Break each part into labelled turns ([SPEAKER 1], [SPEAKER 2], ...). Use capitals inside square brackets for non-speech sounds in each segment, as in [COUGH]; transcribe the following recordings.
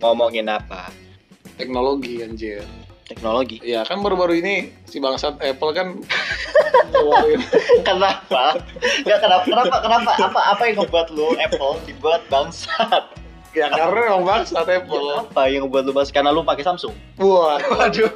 [SPEAKER 1] ngomongin apa?
[SPEAKER 2] Nah, Teknologi anjir.
[SPEAKER 1] Teknologi.
[SPEAKER 2] Ya kan baru-baru ini si bangsat Apple kan
[SPEAKER 1] [LAUGHS]
[SPEAKER 2] ngeluarin
[SPEAKER 1] [LAUGHS] kenapa? Gak kenapa? Kenapa? Kenapa? Apa apa yang ngebuat lu Apple dibuat bangsat?
[SPEAKER 2] ya karena emang bangsat Apple.
[SPEAKER 1] Apa yang ngebuat lu bangsat? Karena lu pakai Samsung.
[SPEAKER 2] Wah,
[SPEAKER 1] Iya. Waduh.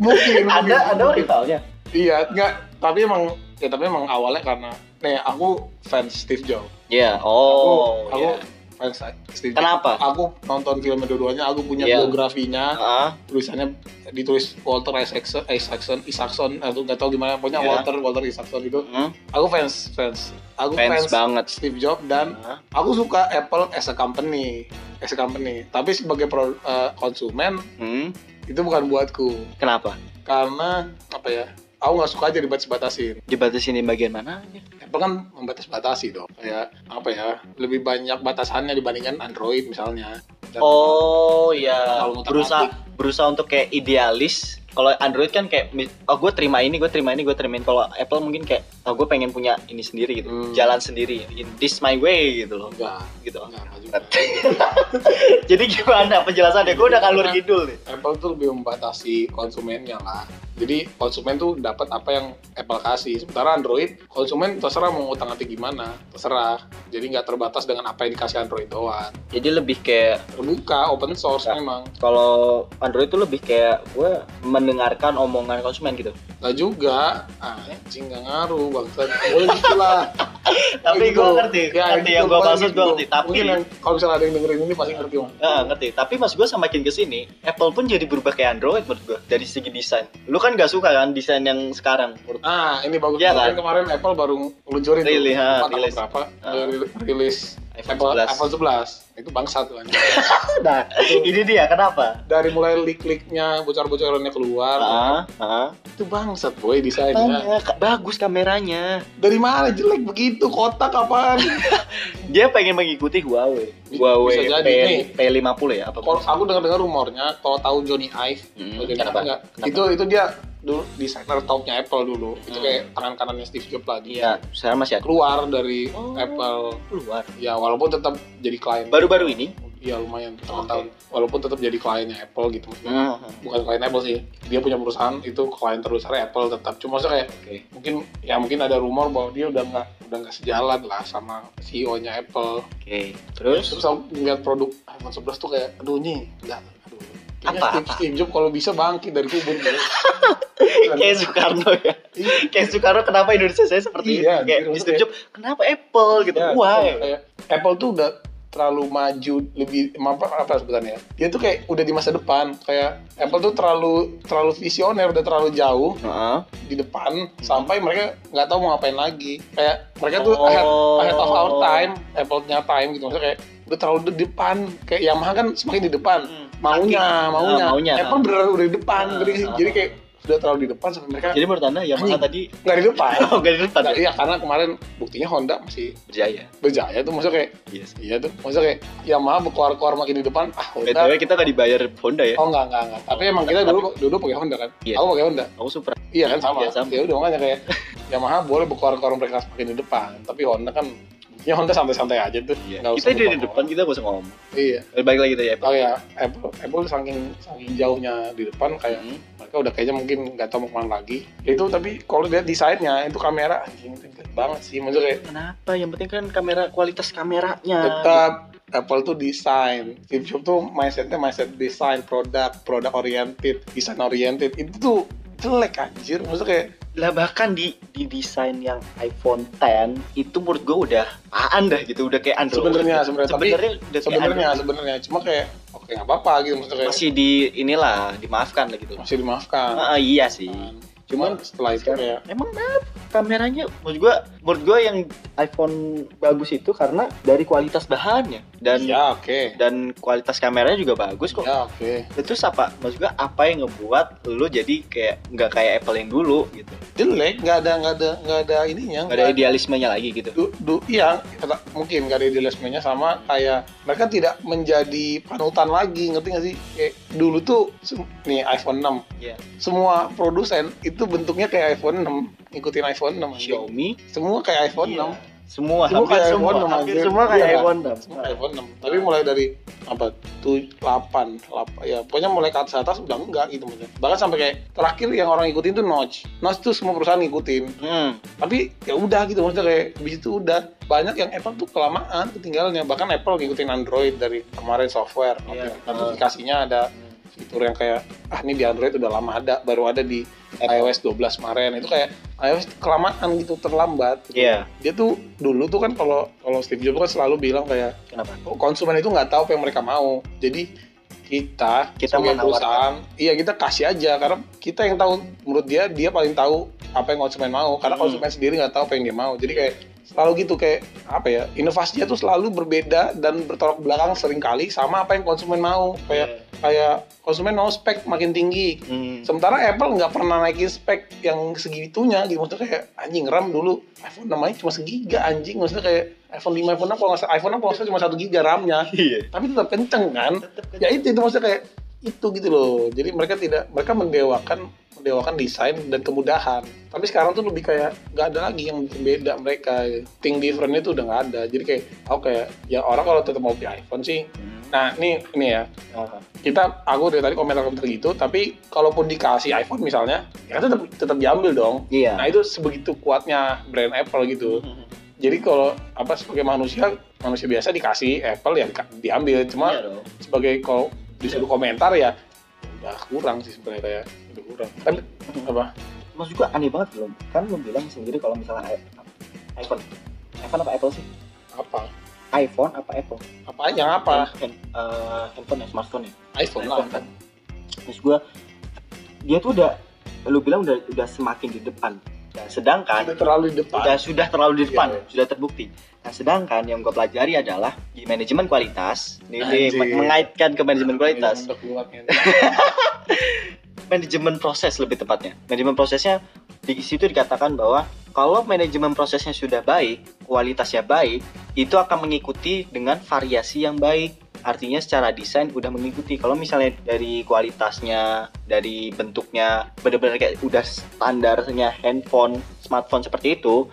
[SPEAKER 2] mungkin mungkin,
[SPEAKER 1] Ada ada
[SPEAKER 2] mungkin.
[SPEAKER 1] rivalnya.
[SPEAKER 2] Iya, enggak. Tapi emang ya tapi emang awalnya karena nih aku fans Steve Jobs.
[SPEAKER 1] Iya.
[SPEAKER 2] Aku,
[SPEAKER 1] Oh.
[SPEAKER 2] aku
[SPEAKER 1] iya.
[SPEAKER 2] fans Steve Jobs.
[SPEAKER 1] Kenapa?
[SPEAKER 2] Aku nonton film dua-duanya, aku punya
[SPEAKER 1] Iya.
[SPEAKER 2] biografinya,
[SPEAKER 1] Ah,
[SPEAKER 2] tulisannya ditulis Walter Isaacson, Isaacson, Isaacson atau nggak tahu gimana, pokoknya
[SPEAKER 1] Iya.
[SPEAKER 2] Walter Walter Isaacson itu.
[SPEAKER 1] hmm,
[SPEAKER 2] Aku fans fans, aku fans,
[SPEAKER 1] fans banget.
[SPEAKER 2] Steve Jobs dan
[SPEAKER 1] Ah,
[SPEAKER 2] aku suka Apple as a company, as a company. Tapi sebagai pro- eh, konsumen
[SPEAKER 1] Hmm,
[SPEAKER 2] itu bukan buatku
[SPEAKER 1] kenapa?
[SPEAKER 2] karena apa ya? Aku nggak suka aja dibatas-batasin.
[SPEAKER 1] Dibatasin di bagian mana? aja?
[SPEAKER 2] Apple kan membatas-batasi dong kayak apa ya lebih banyak batasannya dibandingkan Android misalnya Dan
[SPEAKER 1] Oh iya,
[SPEAKER 2] Kalau ngutak-ngatik.
[SPEAKER 1] berusaha berusaha untuk kayak idealis. Kalau Android kan kayak, mi- oh gue terima ini, gue terima ini, gue terima ini. Kalau Apple mungkin kayak, oh gue pengen punya ini sendiri gitu,
[SPEAKER 2] Hmm.
[SPEAKER 1] jalan sendiri, this my way gitu loh,
[SPEAKER 2] enggak
[SPEAKER 1] gitu.
[SPEAKER 2] enggak enggak juga
[SPEAKER 1] Jadi gimana penjelasannya? Gue udah kalur kidul nih.
[SPEAKER 2] Apple tuh lebih membatasi konsumennya lah jadi konsumen tuh dapat apa yang Apple kasih sementara Android konsumen terserah mau utang atik gimana terserah jadi nggak terbatas dengan apa yang dikasih Android doang
[SPEAKER 1] Jadi lebih kayak
[SPEAKER 2] terbuka open source
[SPEAKER 1] Ya.
[SPEAKER 2] memang
[SPEAKER 1] kalau Android itu lebih kayak gue mendengarkan omongan konsumen gitu.
[SPEAKER 2] nggak juga ah, anjing nggak ngaruh
[SPEAKER 1] [LAUGHS]
[SPEAKER 2] bangsat boleh gitu lah
[SPEAKER 1] Tapi
[SPEAKER 2] Gitu.
[SPEAKER 1] gue ngerti,
[SPEAKER 2] Ya,
[SPEAKER 1] ngerti
[SPEAKER 2] gitu,
[SPEAKER 1] yang gue
[SPEAKER 2] pokoknya
[SPEAKER 1] maksud gue
[SPEAKER 2] gitu.
[SPEAKER 1] ngerti. Tapi
[SPEAKER 2] Mungkin yang- kalau misalnya ada yang dengerin ini pasti ngerti om
[SPEAKER 1] Ah, ngerti. Tapi mas gue semakin kesini, Apple pun jadi berubah kayak Android menurut gue dari segi desain. Lu kan gak suka kan desain yang sekarang? menurut-
[SPEAKER 2] Ah, ini bagus.
[SPEAKER 1] Iya
[SPEAKER 2] kemarin,
[SPEAKER 1] kan?
[SPEAKER 2] kemarin Apple baru ngeluncurin tuh,
[SPEAKER 1] Rilis, ha,
[SPEAKER 2] empat atau
[SPEAKER 1] rilis.
[SPEAKER 2] berapa
[SPEAKER 1] Ah.
[SPEAKER 2] ril- rilis
[SPEAKER 1] iPhone
[SPEAKER 2] Apple
[SPEAKER 1] 11.
[SPEAKER 2] iPhone 11. Itu bangsat tuh anjing.
[SPEAKER 1] Nah, [LAUGHS] ini dia kenapa?
[SPEAKER 2] Dari mulai leak-leaknya, bocor-bocorannya keluar,
[SPEAKER 1] Ah, ah.
[SPEAKER 2] itu bangsat boy desainnya.
[SPEAKER 1] Banyak, Kak. bagus kameranya.
[SPEAKER 2] Dari mana jelek begitu kotak apaan?
[SPEAKER 1] Dia pengen mengikuti Huawei.
[SPEAKER 2] Bisa jadi,
[SPEAKER 1] Huawei
[SPEAKER 2] nih.
[SPEAKER 1] P, P50 ya apa?
[SPEAKER 2] Kalau aku dengar-dengar rumornya kalau tahu Johnny Ive,
[SPEAKER 1] Hmm,
[SPEAKER 2] kalau Johnny
[SPEAKER 1] kenapa?
[SPEAKER 2] Ive enggak,
[SPEAKER 1] Kenapa?
[SPEAKER 2] itu itu dia dulu desainer topnya Apple dulu. Itu
[SPEAKER 1] Hmm.
[SPEAKER 2] kayak tangan kanannya Steve Jobs lah dia.
[SPEAKER 1] Iya, sekarang masih ada
[SPEAKER 2] Keluar dari
[SPEAKER 1] Oh.
[SPEAKER 2] Apple.
[SPEAKER 1] keluar.
[SPEAKER 2] Ya walaupun tetap jadi klien.
[SPEAKER 1] Baru-baru ini.
[SPEAKER 2] Iya lumayan
[SPEAKER 1] Oke.
[SPEAKER 2] tahun-tahun. Walaupun tetap jadi kliennya Apple gitu maksudnya.
[SPEAKER 1] Ah,
[SPEAKER 2] bukan klien Apple sih dia punya perusahaan itu klien terbesarnya Apple tetap cuma maksudnya kayak
[SPEAKER 1] Oke.
[SPEAKER 2] mungkin ya mungkin ada rumor bahwa dia udah nggak udah nggak sejalan lah sama CEO-nya Apple
[SPEAKER 1] Oke. Terus
[SPEAKER 2] terus aku ngeliat produk iPhone 11 tuh kayak aduh nih nggak aduh Kayaknya
[SPEAKER 1] Apa,
[SPEAKER 2] Steve,
[SPEAKER 1] apa?
[SPEAKER 2] Steve Jobs kalau bisa bangkit dari kubur gitu.
[SPEAKER 1] [LAUGHS] kayak Soekarno ya.
[SPEAKER 2] Iya.
[SPEAKER 1] Kayak Soekarno kenapa Indonesia saya seperti
[SPEAKER 2] Iya,
[SPEAKER 1] ini? Kayak
[SPEAKER 2] gitu.
[SPEAKER 1] Steve Jobs, kenapa Apple gitu?
[SPEAKER 2] Ya,
[SPEAKER 1] Why?
[SPEAKER 2] kayak Apple tuh udah terlalu maju lebih apa apa sebutannya dia tuh kayak udah di masa depan kayak Apple tuh terlalu terlalu visioner udah terlalu jauh
[SPEAKER 1] Heeh.
[SPEAKER 2] di depan
[SPEAKER 1] Hmm.
[SPEAKER 2] sampai mereka nggak tahu mau ngapain lagi kayak mereka tuh
[SPEAKER 1] Oh.
[SPEAKER 2] ahead, ahead of our time Apple-nya time gitu maksudnya kayak udah terlalu di depan kayak Yamaha kan semakin di depan
[SPEAKER 1] Mm.
[SPEAKER 2] maunya
[SPEAKER 1] Saking-
[SPEAKER 2] maunya.
[SPEAKER 1] Ah, maunya.
[SPEAKER 2] Apple beneran udah di depan
[SPEAKER 1] Ah,
[SPEAKER 2] jadi,
[SPEAKER 1] ah.
[SPEAKER 2] jadi kayak udah terlalu di depan sampai mereka
[SPEAKER 1] Jadi menurut anda Yamaha
[SPEAKER 2] Anjing.
[SPEAKER 1] tadi [LAUGHS]
[SPEAKER 2] nggak di depan
[SPEAKER 1] oh, gak di depan
[SPEAKER 2] Nah,
[SPEAKER 1] ya?
[SPEAKER 2] iya karena kemarin buktinya Honda masih
[SPEAKER 1] Berjaya.
[SPEAKER 2] berjaya tuh maksudnya kayak
[SPEAKER 1] ya? Yes.
[SPEAKER 2] iya tuh maksudnya kayak Yamaha berkoar-koar makin di depan ah Honda
[SPEAKER 1] BTW kita gak dibayar Honda gitu ya?
[SPEAKER 2] oh enggak enggak enggak tapi emang kita dulu dulu pakai Honda kan
[SPEAKER 1] Iya.
[SPEAKER 2] aku pakai Honda
[SPEAKER 1] Aku Supra.
[SPEAKER 2] Iya kan sama.
[SPEAKER 1] Iya, sama.
[SPEAKER 2] Ya udah makanya
[SPEAKER 1] [LAUGHS]
[SPEAKER 2] kayak Yamaha boleh berkoar-koar mereka semakin di depan, tapi Honda kan ya Honda santai-santai aja tuh. nggak
[SPEAKER 1] Iya. Kita
[SPEAKER 2] usah
[SPEAKER 1] di
[SPEAKER 2] berkoar.
[SPEAKER 1] depan kita gak usah ngomong. Eh,
[SPEAKER 2] Iya.
[SPEAKER 1] Balik lagi tadi Apple.
[SPEAKER 2] Oh ya, Apple, Apple saking saking jauhnya di depan kayak
[SPEAKER 1] Hmm.
[SPEAKER 2] mereka udah kayaknya mungkin nggak tahu mau kemana lagi. Ya Itu tapi kalau lihat desainnya itu kamera anjing itu jelek banget sih maksudnya kayak
[SPEAKER 1] Kenapa? Yang penting kan kamera kualitas kameranya.
[SPEAKER 2] tetap Apple tuh desain, Steve Jobs tuh mindsetnya mindset desain, produk, produk oriented, desain oriented itu tuh jelek anjir maksudnya kayak
[SPEAKER 1] Lah bahkan di di desain yang iPhone 10 itu menurut gue udah apaan dah gitu, udah kayak Android.
[SPEAKER 2] Sebenarnya, sebenarnya. Tapi-
[SPEAKER 1] sebenarnya udah kayak
[SPEAKER 2] sebenarnya
[SPEAKER 1] Android.
[SPEAKER 2] sebenarnya cuma kayak oke nggak apa-apa gitu maksudnya kayak
[SPEAKER 1] masih di inilah dimaafkan lah gitu.
[SPEAKER 2] masih Nah. dimaafkan.
[SPEAKER 1] Ah, iya sih.
[SPEAKER 2] Cuman setelah itu
[SPEAKER 1] Sekarang-
[SPEAKER 2] kayak
[SPEAKER 1] Emang kenapa? Kameranya menurut gua menurut gua yang iPhone bagus itu karena dari kualitas bahannya dan
[SPEAKER 2] ya oke.
[SPEAKER 1] dan kualitas kameranya juga bagus kok.
[SPEAKER 2] Ya oke.
[SPEAKER 1] Terus apa? Maksud gua apa yang ngebuat lu jadi kayak nggak kayak Apple yang dulu gitu.
[SPEAKER 2] Jelek nggak ada nggak ada nggak ada ininya.
[SPEAKER 1] Nggak ada idealismenya lagi gitu.
[SPEAKER 2] Du, du, iya, kata- mungkin nggak ada idealismenya sama kayak mereka tidak menjadi panutan lagi, ngerti nggak sih? Kayak dulu tuh sem- nih iPhone 6,
[SPEAKER 1] Iya.
[SPEAKER 2] semua produsen itu bentuknya kayak iPhone 6, ngikutin iPhone 6. anjing.
[SPEAKER 1] Xiaomi
[SPEAKER 2] Semua kayak iPhone
[SPEAKER 1] Iya.
[SPEAKER 2] 6.
[SPEAKER 1] Semua,
[SPEAKER 2] Semua
[SPEAKER 1] hampir
[SPEAKER 2] kayak
[SPEAKER 1] semua,
[SPEAKER 2] iPhone,
[SPEAKER 1] hampir
[SPEAKER 2] anjir.
[SPEAKER 1] semua kayak
[SPEAKER 2] Iya, Pak.
[SPEAKER 1] iPhone Dam.
[SPEAKER 2] Semua iPhone 6. Tapi mulai dari apa? 7, 8, 8 ya pokoknya mulai ke atas atas udah enggak gitu maksudnya. Bahkan sampai kayak terakhir yang orang ikutin tuh Notch. Notch tuh semua perusahaan ngikutin.
[SPEAKER 1] Hmm.
[SPEAKER 2] Tapi ya udah gitu maksudnya kayak di situ udah banyak yang Apple tuh kelamaan ketinggalannya. Bahkan Apple ngikutin Android dari kemarin software,
[SPEAKER 1] Iya.
[SPEAKER 2] aplikasinya ada fitur yang kayak ah ini di Android udah lama ada, baru ada di
[SPEAKER 1] Apple.
[SPEAKER 2] iOS 12 kemarin itu kayak iOS kelamaan gitu terlambat.
[SPEAKER 1] Iya,
[SPEAKER 2] Dia tuh dulu tuh kan kalau kalau Steve Jobs kan selalu bilang kayak "Oh,
[SPEAKER 1] kenapa?
[SPEAKER 2] konsumen itu nggak tahu apa yang mereka mau. Jadi kita,
[SPEAKER 1] Kita
[SPEAKER 2] sebagai
[SPEAKER 1] menawarkan.
[SPEAKER 2] perusahaan, iya kita kasih aja karena kita yang tahu menurut dia dia paling tahu apa yang konsumen mau karena
[SPEAKER 1] Hmm.
[SPEAKER 2] konsumen sendiri nggak tahu apa yang dia mau. Jadi kayak selalu gitu kayak apa ya inovasinya tuh selalu berbeda dan bertolak belakang seringkali sama apa yang konsumen mau kayak kayak konsumen mau spek makin tinggi
[SPEAKER 1] Hmm.
[SPEAKER 2] Sementara Apple nggak pernah naikin spek yang segitunya gitu maksudnya kayak anjing RAM dulu iPhone namanya cuma segiga anjing maksudnya kayak iPhone 5 iPhone 6 kalau nggak salah- iPhone 6 kalau nggak salah cuma 1 giga RAM-nya
[SPEAKER 1] Iya.
[SPEAKER 2] tapi tetap kenceng kan ya itu itu maksudnya kayak itu gitu loh jadi mereka tidak mereka mendewakan mendewakan desain dan kemudahan tapi sekarang tuh lebih kayak nggak ada lagi yang bikin beda mereka think different itu udah nggak ada jadi kayak oke ya orang kalau tetap mau beli iPhone sih nah ini ini ya
[SPEAKER 1] Apa?
[SPEAKER 2] kita aku dari tadi komentar-komentar gitu tapi kalaupun dikasih iPhone misalnya ya tetap tetap diambil dong
[SPEAKER 1] Iya.
[SPEAKER 2] nah itu sebegitu kuatnya brand Apple gitu
[SPEAKER 1] Hmm.
[SPEAKER 2] jadi kalau apa sebagai manusia manusia biasa dikasih Apple ya dika- diambil cuma
[SPEAKER 1] Iya dong.
[SPEAKER 2] sebagai kalau disuruh komentar ya udah kurang sih sebenarnya ya udah kurang tapi apa
[SPEAKER 1] Mas juga aneh banget belum? Kan lu bilang sendiri kalau misalnya i- iPhone. iPhone apa Apple sih?
[SPEAKER 2] apa
[SPEAKER 1] iPhone apa Apple?
[SPEAKER 2] apanya apa
[SPEAKER 1] Hand- eh, handphone ya, smartphone ya.
[SPEAKER 2] iPhone lah
[SPEAKER 1] iPhone kan. Terus gue, dia tuh udah, lu bilang udah udah semakin di depan. Nah, sedangkan
[SPEAKER 2] Udah terlalu di depan
[SPEAKER 1] sudah sudah terlalu di depan,
[SPEAKER 2] Iya.
[SPEAKER 1] sudah terbukti. Nah, sedangkan yang gue pelajari adalah di manajemen kualitas, ini ini
[SPEAKER 2] Anjing.
[SPEAKER 1] meng- mengaitkan ke manajemen kualitas,
[SPEAKER 2] Udah keluar, kan. men.
[SPEAKER 1] manajemen proses lebih tepatnya. Manajemen prosesnya di situ dikatakan bahwa kalau manajemen prosesnya sudah baik, kualitasnya baik, itu akan mengikuti dengan variasi yang baik. Artinya secara desain udah mengikuti. Kalau misalnya dari kualitasnya, dari bentuknya benar-benar kayak udah standarnya handphone, smartphone seperti itu,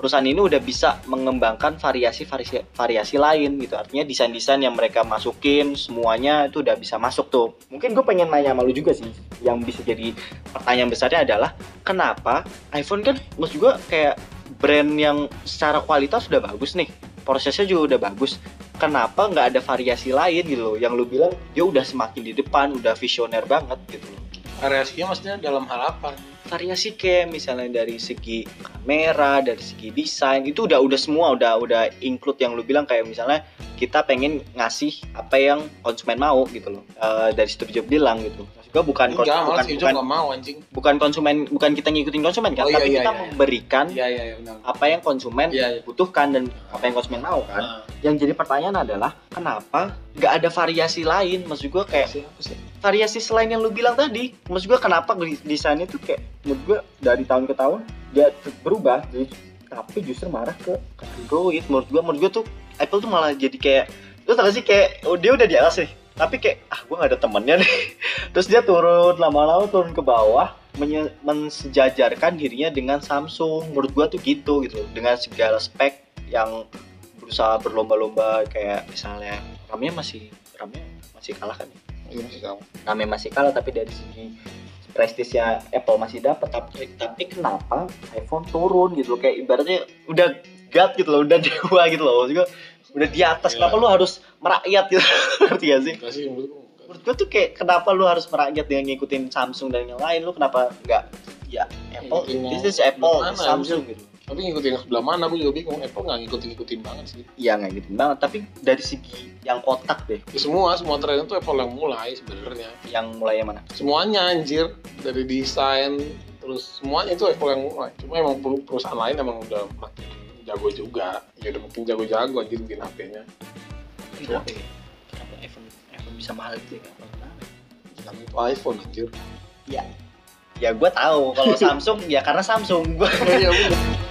[SPEAKER 1] perusahaan ini udah bisa mengembangkan variasi variasi variasi lain gitu. Artinya desain-desain yang mereka masukin semuanya itu udah bisa masuk tuh. Mungkin gue pengen nanya sama lu juga sih yang bisa jadi pertanyaan besarnya adalah kenapa iPhone kan mas juga kayak brand yang secara kualitas sudah bagus nih prosesnya juga udah bagus kenapa nggak ada variasi lain gitu loh yang lu bilang dia udah semakin di depan udah visioner banget gitu loh
[SPEAKER 2] variasinya maksudnya dalam hal apa
[SPEAKER 1] variasi kayak misalnya dari segi kamera dari segi desain itu udah udah semua udah udah include yang lu bilang kayak misalnya kita pengen ngasih apa yang konsumen mau gitu loh Eh, dari Steve Jobs bilang gitu Maksud gua bukan
[SPEAKER 2] enggak malah
[SPEAKER 1] bukan,
[SPEAKER 2] sih
[SPEAKER 1] bukan
[SPEAKER 2] nggak mau anjing
[SPEAKER 1] bukan konsumen bukan kita ngikutin konsumen
[SPEAKER 2] Oh,
[SPEAKER 1] kan
[SPEAKER 2] iya,
[SPEAKER 1] tapi
[SPEAKER 2] iya,
[SPEAKER 1] kita
[SPEAKER 2] iya, iya.
[SPEAKER 1] memberikan
[SPEAKER 2] iya iya iya benar
[SPEAKER 1] apa yang konsumen
[SPEAKER 2] iya iya Ah,
[SPEAKER 1] butuhkan dan apa yang konsumen mau kan yang jadi pertanyaan adalah kenapa nggak ada variasi lain maksud gue kayak
[SPEAKER 2] Siapa sih?
[SPEAKER 1] variasi selain yang lu bilang tadi maksud gue kenapa gel- desainnya tuh kayak menurut gue dari tahun ke tahun dia ter- berubah jadi tapi justru marah ke ke Android menurut gue menurut gue tuh Apple tuh malah jadi kayak terus tau gak sih kayak oh, dia udah di atas nih tapi kayak ah gue gak ada temennya nih [LAUGHS] terus dia turun lama-lama turun ke bawah menye- mensejajarkan dirinya dengan Samsung menurut gue tuh gitu gitu dengan segala spek yang berusaha berlomba-lomba kayak misalnya RAM-nya masih RAM-nya masih kalah kan ya?
[SPEAKER 2] Iya, masih sama.
[SPEAKER 1] kami masih kalah tapi dari segi prestisnya Apple masih dapat tapi, tapi kenapa iPhone turun gitu loh kayak ibaratnya udah god gitu loh udah [LAUGHS] dewa gitu loh juga udah di atas
[SPEAKER 2] Iya.
[SPEAKER 1] kenapa lu harus merakyat gitu [LAUGHS] ngerti gak sih
[SPEAKER 2] Enggak sih menurut gua enggak.
[SPEAKER 1] menurut gue tuh kayak kenapa lu harus merakyat dengan ngikutin Samsung dan yang lain lu kenapa nggak ya Apple
[SPEAKER 2] Ngikutin yang-
[SPEAKER 1] this is Apple
[SPEAKER 2] gimana,
[SPEAKER 1] Samsung gitu
[SPEAKER 2] Tapi ngikutin yang sebelah mana, gue juga bingung. Apple nggak ngikutin-ngikutin banget sih.
[SPEAKER 1] iya nggak gitu banget tapi dari segi yang kotak deh
[SPEAKER 2] Ya, semua, semua tren itu Apple yang mulai sebenarnya.
[SPEAKER 1] yang mulai yang mana
[SPEAKER 2] Semuanya anjir, dari desain, terus semuanya itu Apple yang mulai. Cuma emang per- perusahaan lain emang udah makin jago juga. Ya udah makin jago-jago anjir bikin HP-nya.
[SPEAKER 1] kenapa ya? kenapa iPhone iPhone bisa mahal gitu ya Kenapa?
[SPEAKER 2] Tapi itu iPhone anjir.
[SPEAKER 1] ya gue tahu kalau Samsung [LAUGHS] ya karena Samsung gue
[SPEAKER 2] Iya, udah.